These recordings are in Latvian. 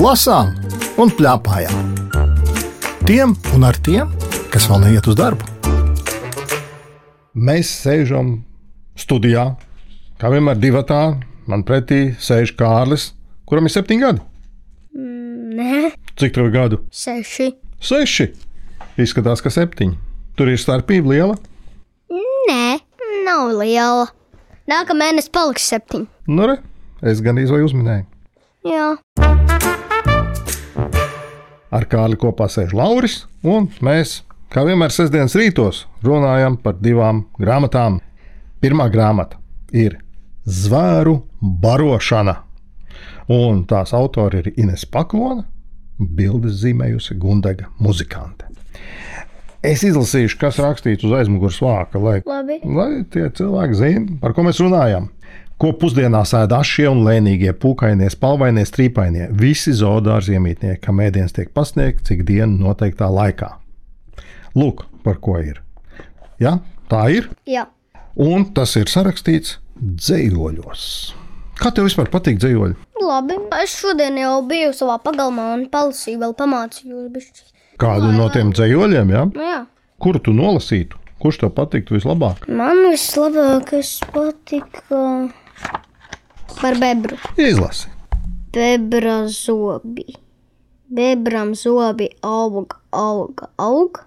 lasām un plēpājām. Tiem un ar tiem, kas vēl neiet uz darbu. Mēs sēžam studijā, kā vienmēr, divi tā. Man pretī sēž Kārlis, kuram ir septiņi gadi. Nē, Cik tev ir gadu? seši. Seši. Izskatās, ka septiņi. Tur ir starpība liela. Nē, nav liela. Nākamā mēnesis paliks septiņi. Nu, re, es gandrīz vai uzminēju. Jā, Ar Kārli kopā sēž Lauris, un mēs, kā vienmēr, sestdienas rītos runājam par divām grāmatām. Pirmā grāmata ir Zvēru barošana, un tās autori ir Ines Pakona, bildes zīmējusi Gundaga muzikante. Es izlasīšu, kas rakstīts uz aizmugures vāka, lai, labi. lai tie cilvēki zinātu, par ko mēs runājam. Ko pusdienās ēda šie un lēnīgie, pūkainie, spalvainie, strīpainie. Visi zoodārzi iemītnieki, kam ēdiens tiek pasniegts cik dienu noteiktā laikā. Lūk, par ko ir. Ja? Tā ir, Jā, un tas ir sarakstīts dzējoļos. Kā tev vispār patīk dzējoļi? labi. Es šodien jau biju savā pagalmā un palasīju, vēl pamācīju. bišķi. Kādu no tiem dzējoļiem, ja? Nu, jā. kuru tu nolasītu? Kurš tev patiktu vislabāk? Man vislabākais patika par bebru. Izlasi. Bebra zobi. Bebram zobi aug, aug, aug.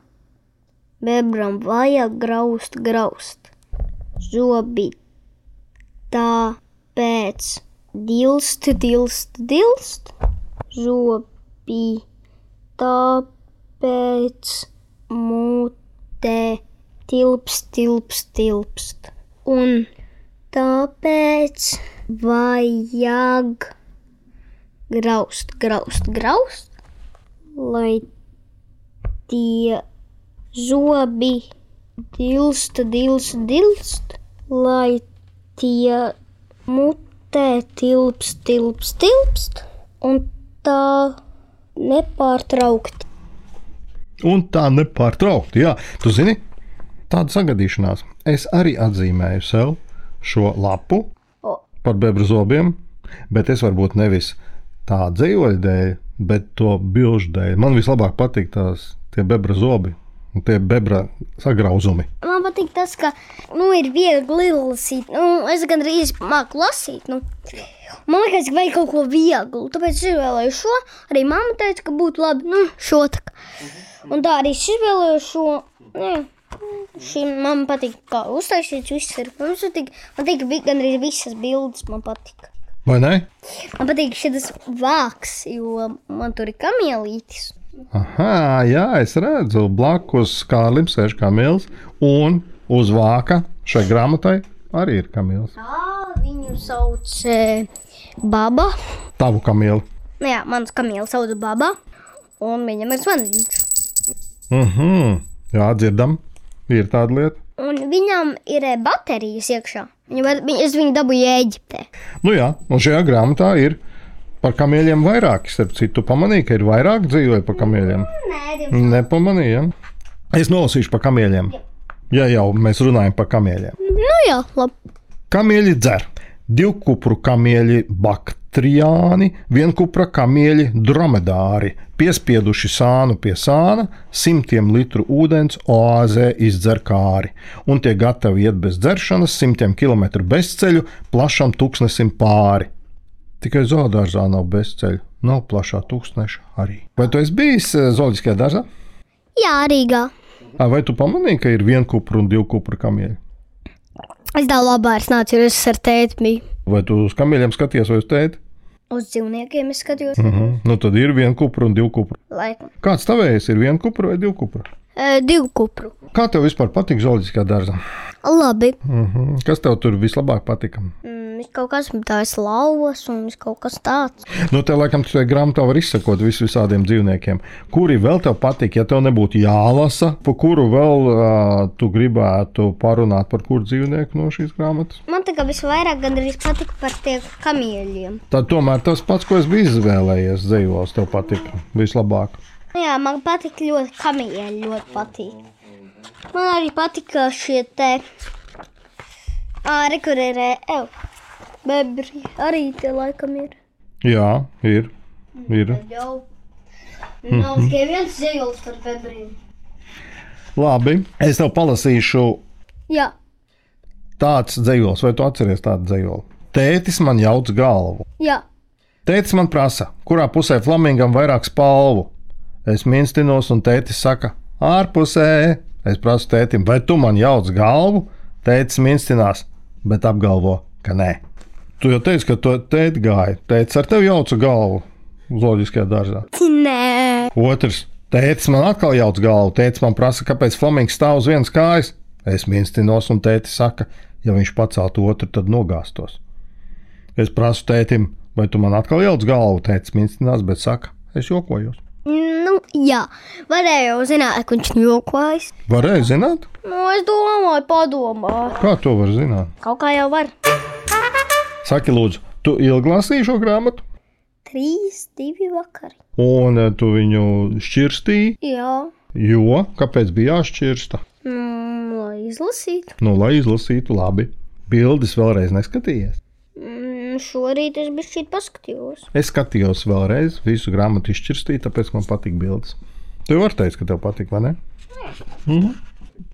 Bebram vajag graust, graust. Zobi tāpēc dilst, dilst, dilst. Zobi tāpēc mutē tilpst, tilpst, tilpst. Un tāpēc vajag graust, graust, graust, lai tie zobi dilst, dilst, dilst, lai tie mutē tilpst, tilpst, tilpst, un tā nepārtraukti. Un tā nepārtraukti. Jā, tu zini, tāda sagadīšanās. Es arī atzīmēju sev šo lapu O. par bebru zobiem, bet es varbūt nevis tā dzīvoļu dēļ, bet to bilžu dēļ. Man vislabāk patīk tās tie bebra zobi un tie bebra sagrauzumi. Man patīk tas, ka nu, ir viegli lasīt. Nu, es gandrīz māku lasīt. Nu. Man liekas, ka vajag kaut ko vieglu. Tāpēc es izvēlēju šo. Arī mamma teica, ka būtu labi nu, šo tā. kā. Un tā arī es izvēlēju šo. Nu, šī man patīk, kā uztaisīts viss ir. Man patīk, man patīk vi- gandrīz visas bildes. Man patīk. Vai ne? Man patīk šis vāks, jo man tur ir kamielītis. Aha, jā, es redzu, blakus Kārlim sēž Kamils un uz vāka šai grāmatai arī ir Kamils. Tā viņu sauc e, Baba. Tavu Kamilu. Nu Jā, mans kamielis sauc Baba, un viņam ir zvaniņš. Mhm, jā, dzirdam, ir tāda lieta. Un viņam ir eh, baterijas iekšā. Viņu var, viņ, es viņu dabūju Eģiptē. Nu jā, un šajā grāmatā ir par kamieļiem vairāk. Starp citu, pamanīju, ka ir vairāk dzīvoju par kamieļiem. Nepamanīju. ja? Es nolasīšu par kamieļiem. Ja jau mēs runājam par kamieļiem. Nu jā, labi. Kamieļi dzer, divkupru kamieļi baktriāni, vienkupra kamieļi dromedāri, piespieduši sānu pie sāna, simtiem litru ūdens oāzē izdzer kāri, un tie gatavi iet bez dzeršanas, simtiem kilometru bezceļu, plašam tūkstnesim pāri. Tikai zoodārzā nav bezceļu, nav plašā tūkstneša arī. Vai tu esi bijis eh, zooloģiskajā dārzā? Jā, Rīgā. Ā, Vai tu pamanīji, ka ir vienkupra un divkupra kamieļi? Es daudz labāk nācu, jo es ar tēti biju. Vai tu uz kamieļiem skaties vai uz tēti? Uz dzīvniekiem es skatījos. Mhm. Nu, tad ir viena kupra un divi kupra. Laikam. Kāds tavējais ir viena kupra vai divi kupra? E, divu kupru. Kā tev vispār patīk zoologiskā dārza? Labi. Mhm. Kas tev tur vislabāk patika? Mm, ir kaut kas tāds lauvas, un ir kaut kas tāds. Nu, tev laikam tur grāmatā var izsekot visu visādiem dzīvniekiem. Kuri vēl tev patīk, ja tev nebūtu jālasa, pa kuru vēl uh, tu gribētu parunāt par kuru dzīvnieku no šīs grāmatas? Man tā kā visvairāk gandrīz patika par tiem kamieļiem. Tad tomēr tas pats, ko es biju izvēlējies, dzīvos, tev patika vislabāk. Nu Jā, man patīk ļoti kamieļi, ļoti patīk. Man arī patika šie te rekurēji, evo, bebri arī tie laikam ir. Jā, ir. Ir. Jau. Nav tikai viens zīmols par bedrīm. Labi, es tev palasīšu Jā, tāds dzīslis, vai tu atceries tādu dzīslu? Tētis man jauc galvu. jā. Tētis man prasa, kurā pusē flamingam vairāk spalvu. Es minstinos, un tētis saka, ārpusē. Es prasu tētim, vai tu man jauc galvu? Tētis minstinās, bet apgalvo, ka nē. Tu jau teici, ka tu tēti gāji. Tētis ar tevi jauca galvu zooloģiskajā dārzā. Nē, Otrs, tētis man atkal jauc galvu. Tētis man prasa, kāpēc flamings stāv uz vienas kājas. Es minstinos, un tētis saka, ja viņš paceltu otru, tad nogāztos. Es prasu tētim, vai tu man atkal jauc galvu? Tētis minstinās, bet saka, es jokoju. nu, jā. Varēja jau zināt, ka viņš jokojas. Varēja zināt, Nu, es domāju, padomā. kā to var zināt. Kaut kā jau var. Saki, lūdzu, tu ilglasīji šo grāmatu, Trīs, divi vakari. un eh, tu viņu šķirstīji, Jā, jo kāpēc bija jāšķirsta? mm, lai izlasītu. Nu, lai izlasītu labi. Bildes vēlreiz neskatījies. Mm, šorīt es biju šķiet paskatījos. Es skatījos vēlreiz, visu grāmatu izšķirstīju, tāpēc man patīk bildes. Tu jau vari teikt, ka tev patīk, vai ne? Mm.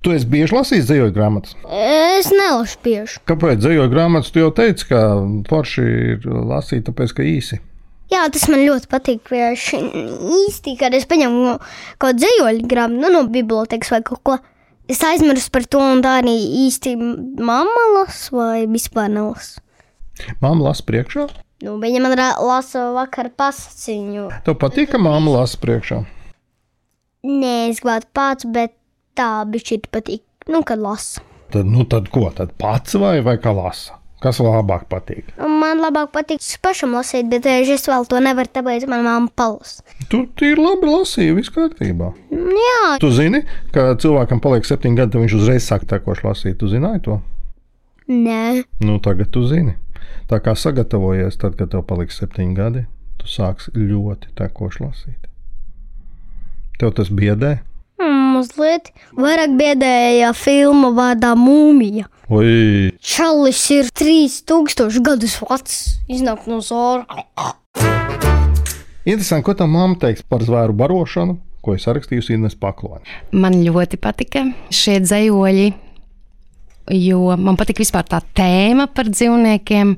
Tu esi bieži lasījis dzīvoju grāmatas. Es nelašu piešu. Kāpēc dzīvoju grāmatas? Tu jau teici, ka forši ir lasīt, tāpēc ka īsi. Jā, tas man ļoti patīk. Vienkārši īsti, kad es paņemu kaut kādu dzīvoļu grāmatu nu, no bibliotekas vai kaut ko. Es aizmirsu par to, un tā arī īsti mamma lasa vai vispār nelas. Māma lasa priekšā. Nu, viņa man ra- lasa vakar pasakiņu. Tev patīk, ka māma lasa priekšā. Nē, es gribētu pats, bet tā bija šī patīk. Nu, kad lasa. Tad, nu, tad ko? Tad pats vai, vai kā lasa? Kas labāk patīk? Un Man labāk patīk tas pašam lasīt, bet reizē es vēl to nevaru, tāpēc man mamma palasa. Tu ir labi lasīji, viss kārtībā. Jā, Tu zini, ka cilvēkam paliek septiņi gadi, tad viņš uzreiz sāk tekoši lasīt. Tu zināji to? nē, Nu, tagad tu zini. Tā kā sagatavojies, tad, kad tev paliks septiņi gadi, tu sāksi ļoti tekoši lasīt. Tev tas biedē? Mm, mazliet vairāk biedēja filma vārdā Mūmija. Oi, Čalis ir 3000 gadus vecs, iznāk no zora. interesanti, ko tā mamma teiks par zvēru barošanu, ko es rakstīju Inês Pakloni. Man ļoti patika šie dzējoļi, jo man patika vispār tā tēma par dzīvniekiem.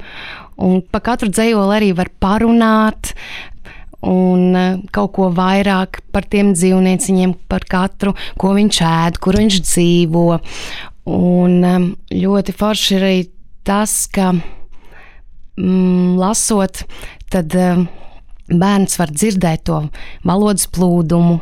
Un par katru dzējoli arī var parunāt. Un eh, kaut ko vairāk par tiem dzīvnieciņiem, par katru, ko viņš ēd, kur viņš dzīvo. Un em, ļoti forši ir arī tas, ka mm, lasot, tad eh, bērns var dzirdēt to valodas plūdumu.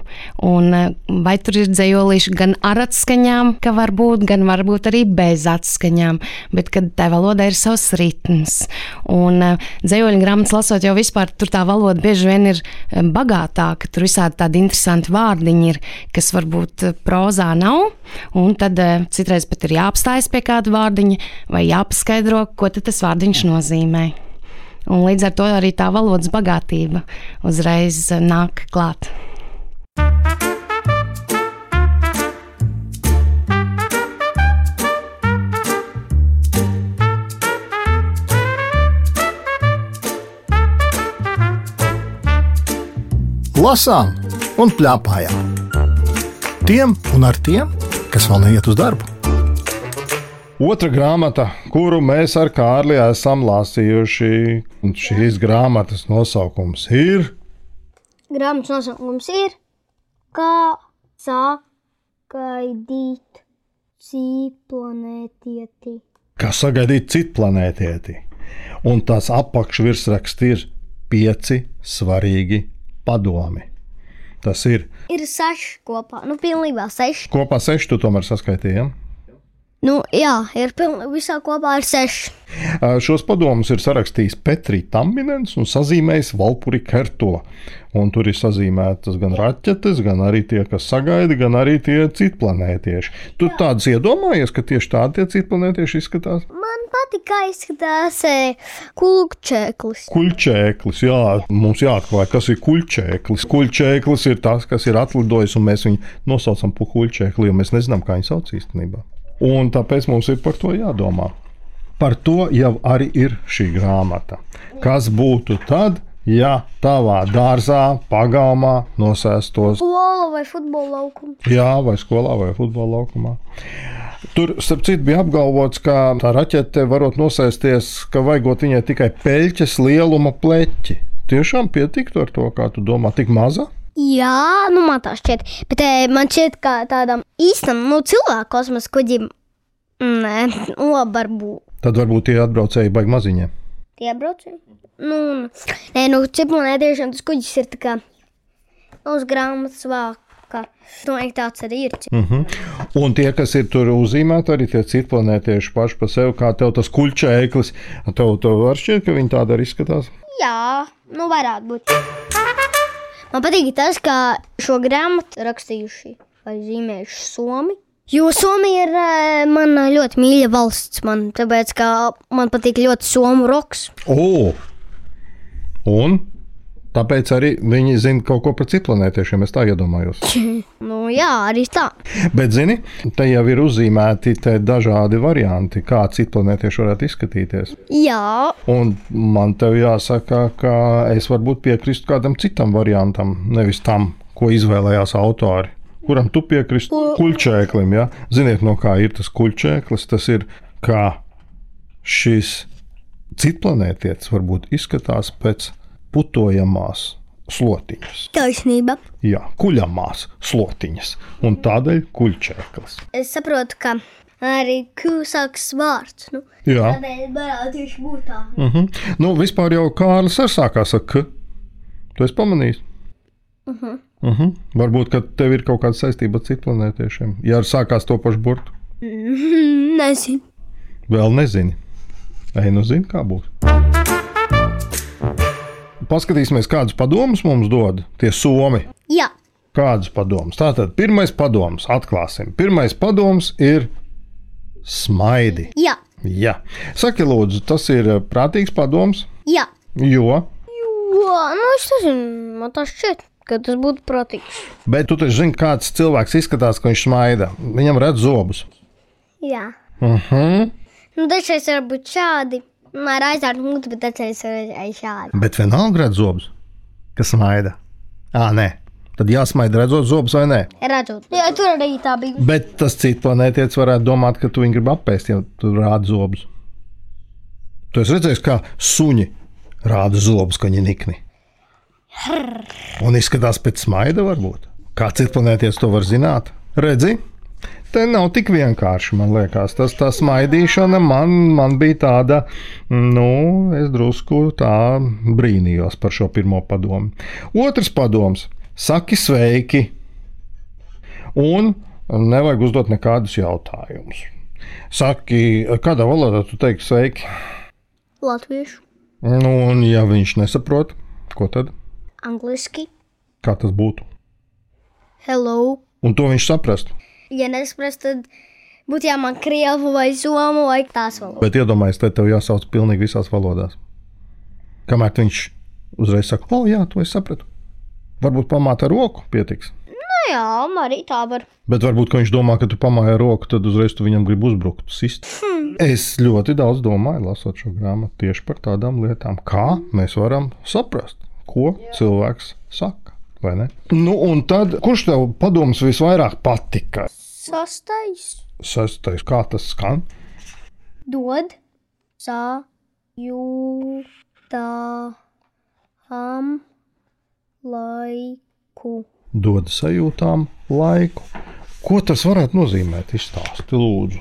Un, eh, vai tur ir dzējolīši gan ar atskaņām, ka var būt, gan varbūt arī bez atskaņām, bet kad tā valoda ir savs ritms. Un eh, dzējoļu grāmatas lasot, jau vispār tur tā valoda bieži vien ir eh, bagātāka, tur visādi tādi interesanti vārdiņi ir, kas varbūt eh, prozā nav, un tad eh, citreiz pat ir jāapstājas pie kāda vārdiņa vai jāpaskaidro, ko tad tas vārdiņš nozīmē. Un līdz ar to arī tā valodas bagātība uzreiz eh, nāk klāt. lasām un plēpājām. Tiem un ar tiem, kas vēl neiet uz darbu. Otra grāmata, kuru mēs ar Kārli esam lasījuši, un šīs grāmatas nosaukums ir Grāmatas nosaukums ir Kā sagaidīt cīplanētieti. kā sagaidīt citu planētieti. Un tās apakšvirsraksts ir pieci svarīgi padomi. Tas ir Ir seši kopā, nu pilnībā seši. kopā seši, tu tomēr saskaitījām. Nu jā, ir pilnībā visā kopā ir seši. Šos padomus ir sarakstījis Petrija Taminens un sazīmējis Valpuri Kertola. Un tur ir sazīmētas gan raķetes, gan arī tie, kas sagaida, gan arī tie citplanētieši. Tu tāds iedomājies, ka tieši tādi tie citplanētieši izskatās? Man patīk, kā izskatās e, kulkčēklis. Kuļķēklis, jā, mums jāatklāj, kas ir kuļķēklis. Kuļķēklis ir tas, kas ir atlidojis, un mēs viņu nosaucam par kuļķēkli, jo mēs nezinām, kā viņu sauc īstenībā. Un tāpēc mums ir par to jādomā. Par to jau arī ir šī grāmata. Kas būtu tad, ja tavā dārzā, pagalmā nosēstos Lola vai futbola laukuma. Jā, vai skolā, vai futbola laukumā. Tur, starp citu, bija apgalvots, ka tā raķete varot nosēsties, ka vajagot viņai tikai peļķes lieluma pleķi. Tiešām pietiktu ar to, kā tu domā, tik maza? Jā, nu man tā šķiet. Bet e, man šķiet, ka tādam īstam nu, cilvēku kosmosa kuģim, nē, nu, obarbu. Tad varbūt tie atbraucēji baigi maziņiem. Tie braucēji. Nu, un- nē, nu, ciprunē tiešām tas kuģis ir tā kā nu, uz grāmatas vāka. Nu, ik tāds arī ir. Uh -huh. Un tie, kas ir tur uzzīmēti, arī tie citplanētieši paši par sevi, kā tev tas kuļķēklis, tev, tev var šķiet, ka viņi tāda arī izskatās. Jā, nu varētu būt. Man patīk tas, ka šo grāmatu rakstījuši vai zīmējuši Somi. Jo Somija ir eh, mana ļoti mīļa valsts, man, tāpēc ka man patīk ļoti somu roks. O! Un tāpēc arī viņi zina kaut ko par citplanētiešiem, es tā iedomājos. Nu, jā, arī tā. Bet, zini, te jau ir uzzīmēti te dažādi varianti, kā citplanētieši varētu izskatīties. Jā, Un man te jāsaka, ka es varbūt piekrītu kādam citam variantam, nevis tam, ko izvēlējās autori. Kuram tu piekrīti? Kulčēklim, ja? Ziniet, no kā ir tas kulčēklis? Tas ir kā šis citplanētietis varbūt izskatās pēc putojamās slotiņas. taisnība. Jā, kuļamās slotiņas. Un tādēļ kulčēklis. Es saprotu, ka arī kūsāks vārds. Nu, Jā. tāpēc varētu tieši būt tā. Uh -huh. Nu, vispār jau Kārlis arī sākās ar K. Tu esi pamanījis? Uh -huh. Uh -huh. Varbūt, ka tev ir kaut kāda saistība ar citu planētiešiem. Ja arī sākās to pašu burtu, Mm, Nezinu. vēl nezini. Ei, nu zini, kā būs. Paskatīsimies, kādas padomas mums dod tie somi. Jā, Kādas padomas? Tātad, pirmais padoms, atklāsim. Pirmais padoms ir smaidi. jā, Jā, saki, lūdzu, tas ir eh, prātīgs padoms, jā. jo Jo, nu, es nezinu, man tas šķiet, ka tas būtu prātīgs. Bet tu taču zini, kāds cilvēks izskatās, ka viņš smaida. Viņam redz zobus. Jā. Uh -huh. Nu, dažreiz var būt šādi. Nu, ar aizvērtu muti, bet dažreiz var arī šādi. Bet vienalga redz zobus, kas smaida. Ah, nē, tad jāsmaida redzot zobus vai nē. Redzot, jā, tur arī tā bija. Bet tas cits planētietis varētu domāt, ka tu viņu gribi apēst, ja tu rādi zobus. Tu esi redzējis, kā suņi rāda zobus, ka viņi nikni. Un izskatās pēc smaida, varbūt. Kā cits planētietis to var zināt? Redzi, Te nav tik vienkārši, man liekas. Tas tā smaidīšana man, man bija tāda, nu, es drusku tā brīnījos par šo pirmo padomu. Otrs padoms - saki sveiki, un nevajag uzdot nekādus jautājumus. Saki, kādā valodā tu teiksi sveiki? Latviešu, Nu, un ja viņš nesaprot, ko tad? angliski, Kā tas būtu? hello. Un to viņš saprast. Ja nesaprast, tad būtu jāmāk krievu vai somu vai tās valodas. Bet iedomājieties, te tev jāsauc pilnīgi visās valodās. Kamēr viņš uzreiz saka, o, jā, to es sapratu. Varbūt pamāta ar roku pietiks. Nu, jā, arī tā var. Bet varbūt, ka viņš domā, ka tu pamāji ar roku, tad uzreiz tu viņam grib uzbrukt. Sist. Es ļoti daudz domāju, lasot šo grāmatu, tieši par tādām lietām, kā mēs varam saprast, ko cilvēks saka. vai ne? Nu, un tad, kurš tev padoms visvairāk patika? Sastais Sastais, kā tas skan? dod sā jūtām laiku. dod sajūtām laiku. Ko tas varētu nozīmēt? Izstāsti, lūdzu.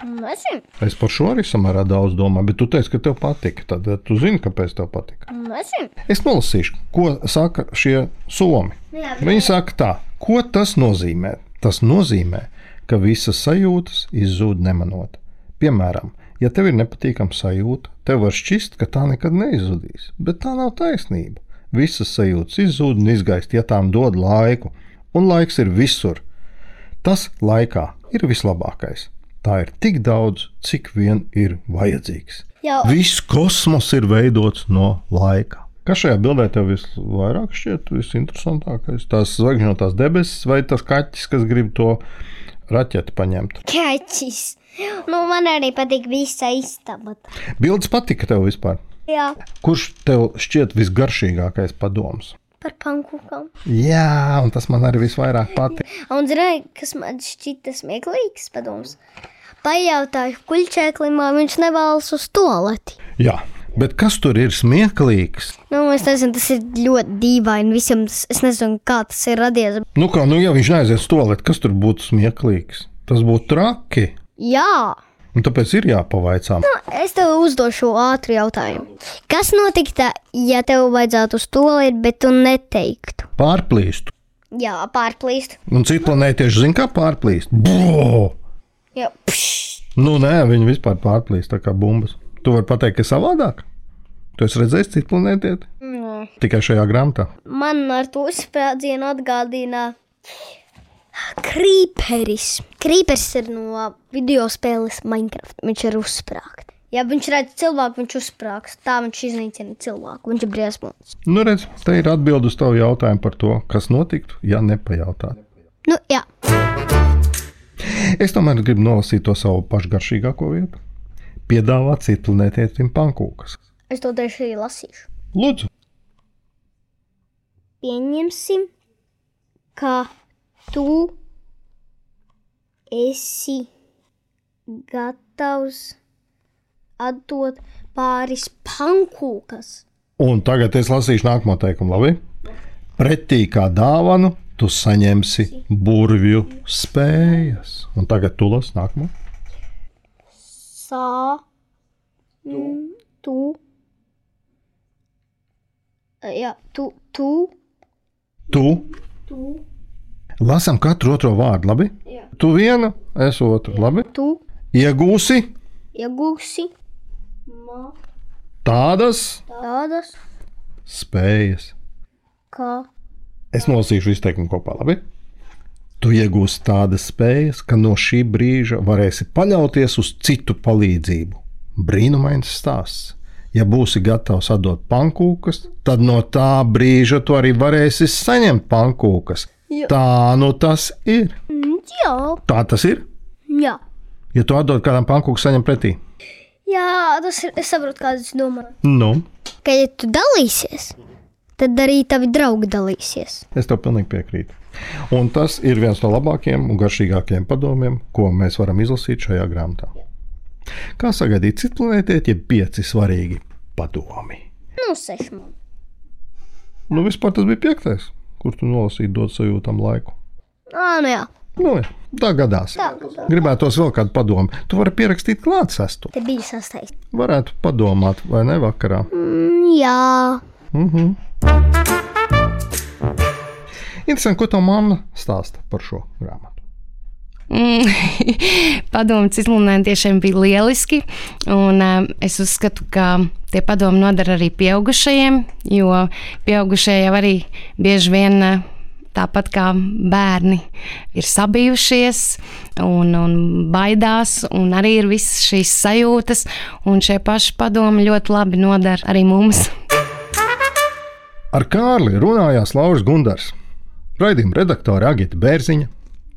Nezinu, Es par šo arī samērā daudz domāju, bet tu teici, ka tev patika. Tad eh, tu zini, kāpēc tev patika. nezinu. Es nolasīšu, ko saka šie somi. Jā, Viņi saka, tā, ko tas nozīmē? Tas nozīmē, ka visas sajūtas izzūd nemanot. Piemēram, ja tev ir nepatīkama sajūta, tev var šķist, ka tā nekad neizzudīs, bet tā nav taisnība. Visas sajūtas izzūd un izgaist, ja tām dod laiku, un laiks ir visur. Tas laikā ir vislabākais. Tā ir tik daudz, cik vien ir vajadzīgs. Jā. Viss kosmos ir veidots no laika. Kas šajā bildē tev vislabāk šķiet, visinteresantākais? Tās zvaigžņotās debesis vai tas kaķis, kas grib to raķeti paņemt? Kaķis. Nu, man arī patīk visa istaba. Bildes patika tev vispār. Jā, Kurš tev šķiet visgaršīgākais padoms? par pankūkām. Jā, un tas man arī visvairāk patīk. Un zināja, kas man šķita smieklīgs padoms. Pajautāju kuļķēklim, vai viņš nevēlas uz toleti. Jā, bet kas tur ir smieklīgs? Nu, es nezinu, tas ir ļoti dīvaini. Visiem tas, es nezinu, kā tas ir radies. Nu, kā nu, ja viņš neaizies to lietu, kas tur būtu smieklīgs? Tas būtu traki. Jā, Un tāpēc ir jāpavaicā. es tev uzdošu ātru jautājumu. Kas notiktu, ja tev vajadzētu uz toleti, bet tu neteiktu? Pārplīst. Jā, pārplīst. Un citi planētieši zina, kā pārplīst. Bro! Jā, Nu, nē, viņi vispār pārplīst tā kā bumbas. Tu vari pateikt, ka savādāk. Tu esi redzējis citu planētieti? Nē. Tikai šajā grāmatā. man ar to uzsprādzienu atgādina krīperis. Krīperis ir no video spēles Minecraft. Viņš ir uzsprāgts. Ja viņš redz cilvēku, viņš uzsprāgs. Tā viņš iznīcina cilvēku. Viņš ir briesmīgs. Nu, redz, te ir atbilde uz tavu jautājumu par to, kas notiktu, ja nepajautātu. Nu, jā, Es tomēr gribu nolasīt to savu pašgaršīgāko vietu. Piedāvā citu planētietim pankūkas. es to tieši arī lasīšu. Lūdzu, Pieņemsim, ka tu esi gatavs atdot pāris pankūkas. un tagad es lasīšu nākamo teikumu, labi? Pretī kā dāvanu tu saņemsi burvju spējas. Un tagad tu lasi nākamo. sa m, mm, tu Eh, jā, tu tu Tu. Lasām katru otro vārdu, labi? Jā. Tu vienu, es otru, labi? tu Iegūsi iegūsi tādas tādas spējas. kā Es nolasīšu izteikumu kopā, labi? Tu iegūsi tādas spējas, ka no šī brīža varēsi paļauties uz citu palīdzību. Brīnumains stāsts. Ja būsi gatavs atdot pankūkas, tad no tā brīža tu arī varēsi saņemt pankūkas. Jā. Tā nu tas ir. Mm, jā, Tā tas ir. jā. Ja tu atdod kādam pankūku, saņem pretī. Jā, tas ir. Es saprotu, kādas domas. Nu, Ka, ja tu dalīsies, tad arī tavi draugi dalīsies. es tev pilnīgi piekrītu. Un tas ir viens no labākajiem un garšīgākajiem padomiem, ko mēs varam izlasīt šajā grāmatā. Kā sagaidīt citu planētieti, ja pieci svarīgi padomi? Nu, seši man. Nu, vispār tas bija piektais, kur tu nolasīji dot sajūtam laiku. Ā, nu jā, Nu, jā, tā gadās. Tā gadās. Gribētos vēl kādu padomu. Tu vari pierakstīt klāt sesto. te bija sastais. Varētu padomāt, vai ne vakarā. Mm, jā, Interesanti, ko tā mamma stāsta par šo grāmatu. padomu cilvēkiem bija lieliski. Un, eh, es uzskatu, ka tie padomi noder arī pieaugušajiem, jo pieaugušie jau arī bieži vien. eh, Tāpat kā bērni ir sabijušies un, un baidās, un arī ir visas šīs sajūtas, un šie paši padomi ļoti labi noder arī mums. Ar Kārli runājās Lauris Gundars, raidījuma redaktore Agita Bērziņa,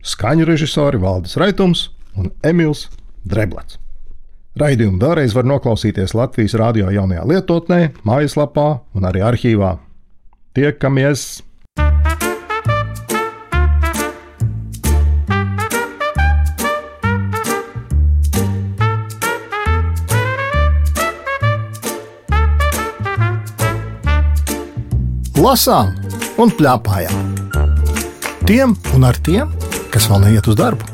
skaņu režisori Valdis Raitums un Emīls Dreblats. Raidījumu vēlreiz var noklausīties Latvijas radio jaunajā lietotnē, mājaslapā un arī arhīvā. Tiekamies! lasām un plēpājām. Tiem un ar tiem, kas vēl neiet uz darbu.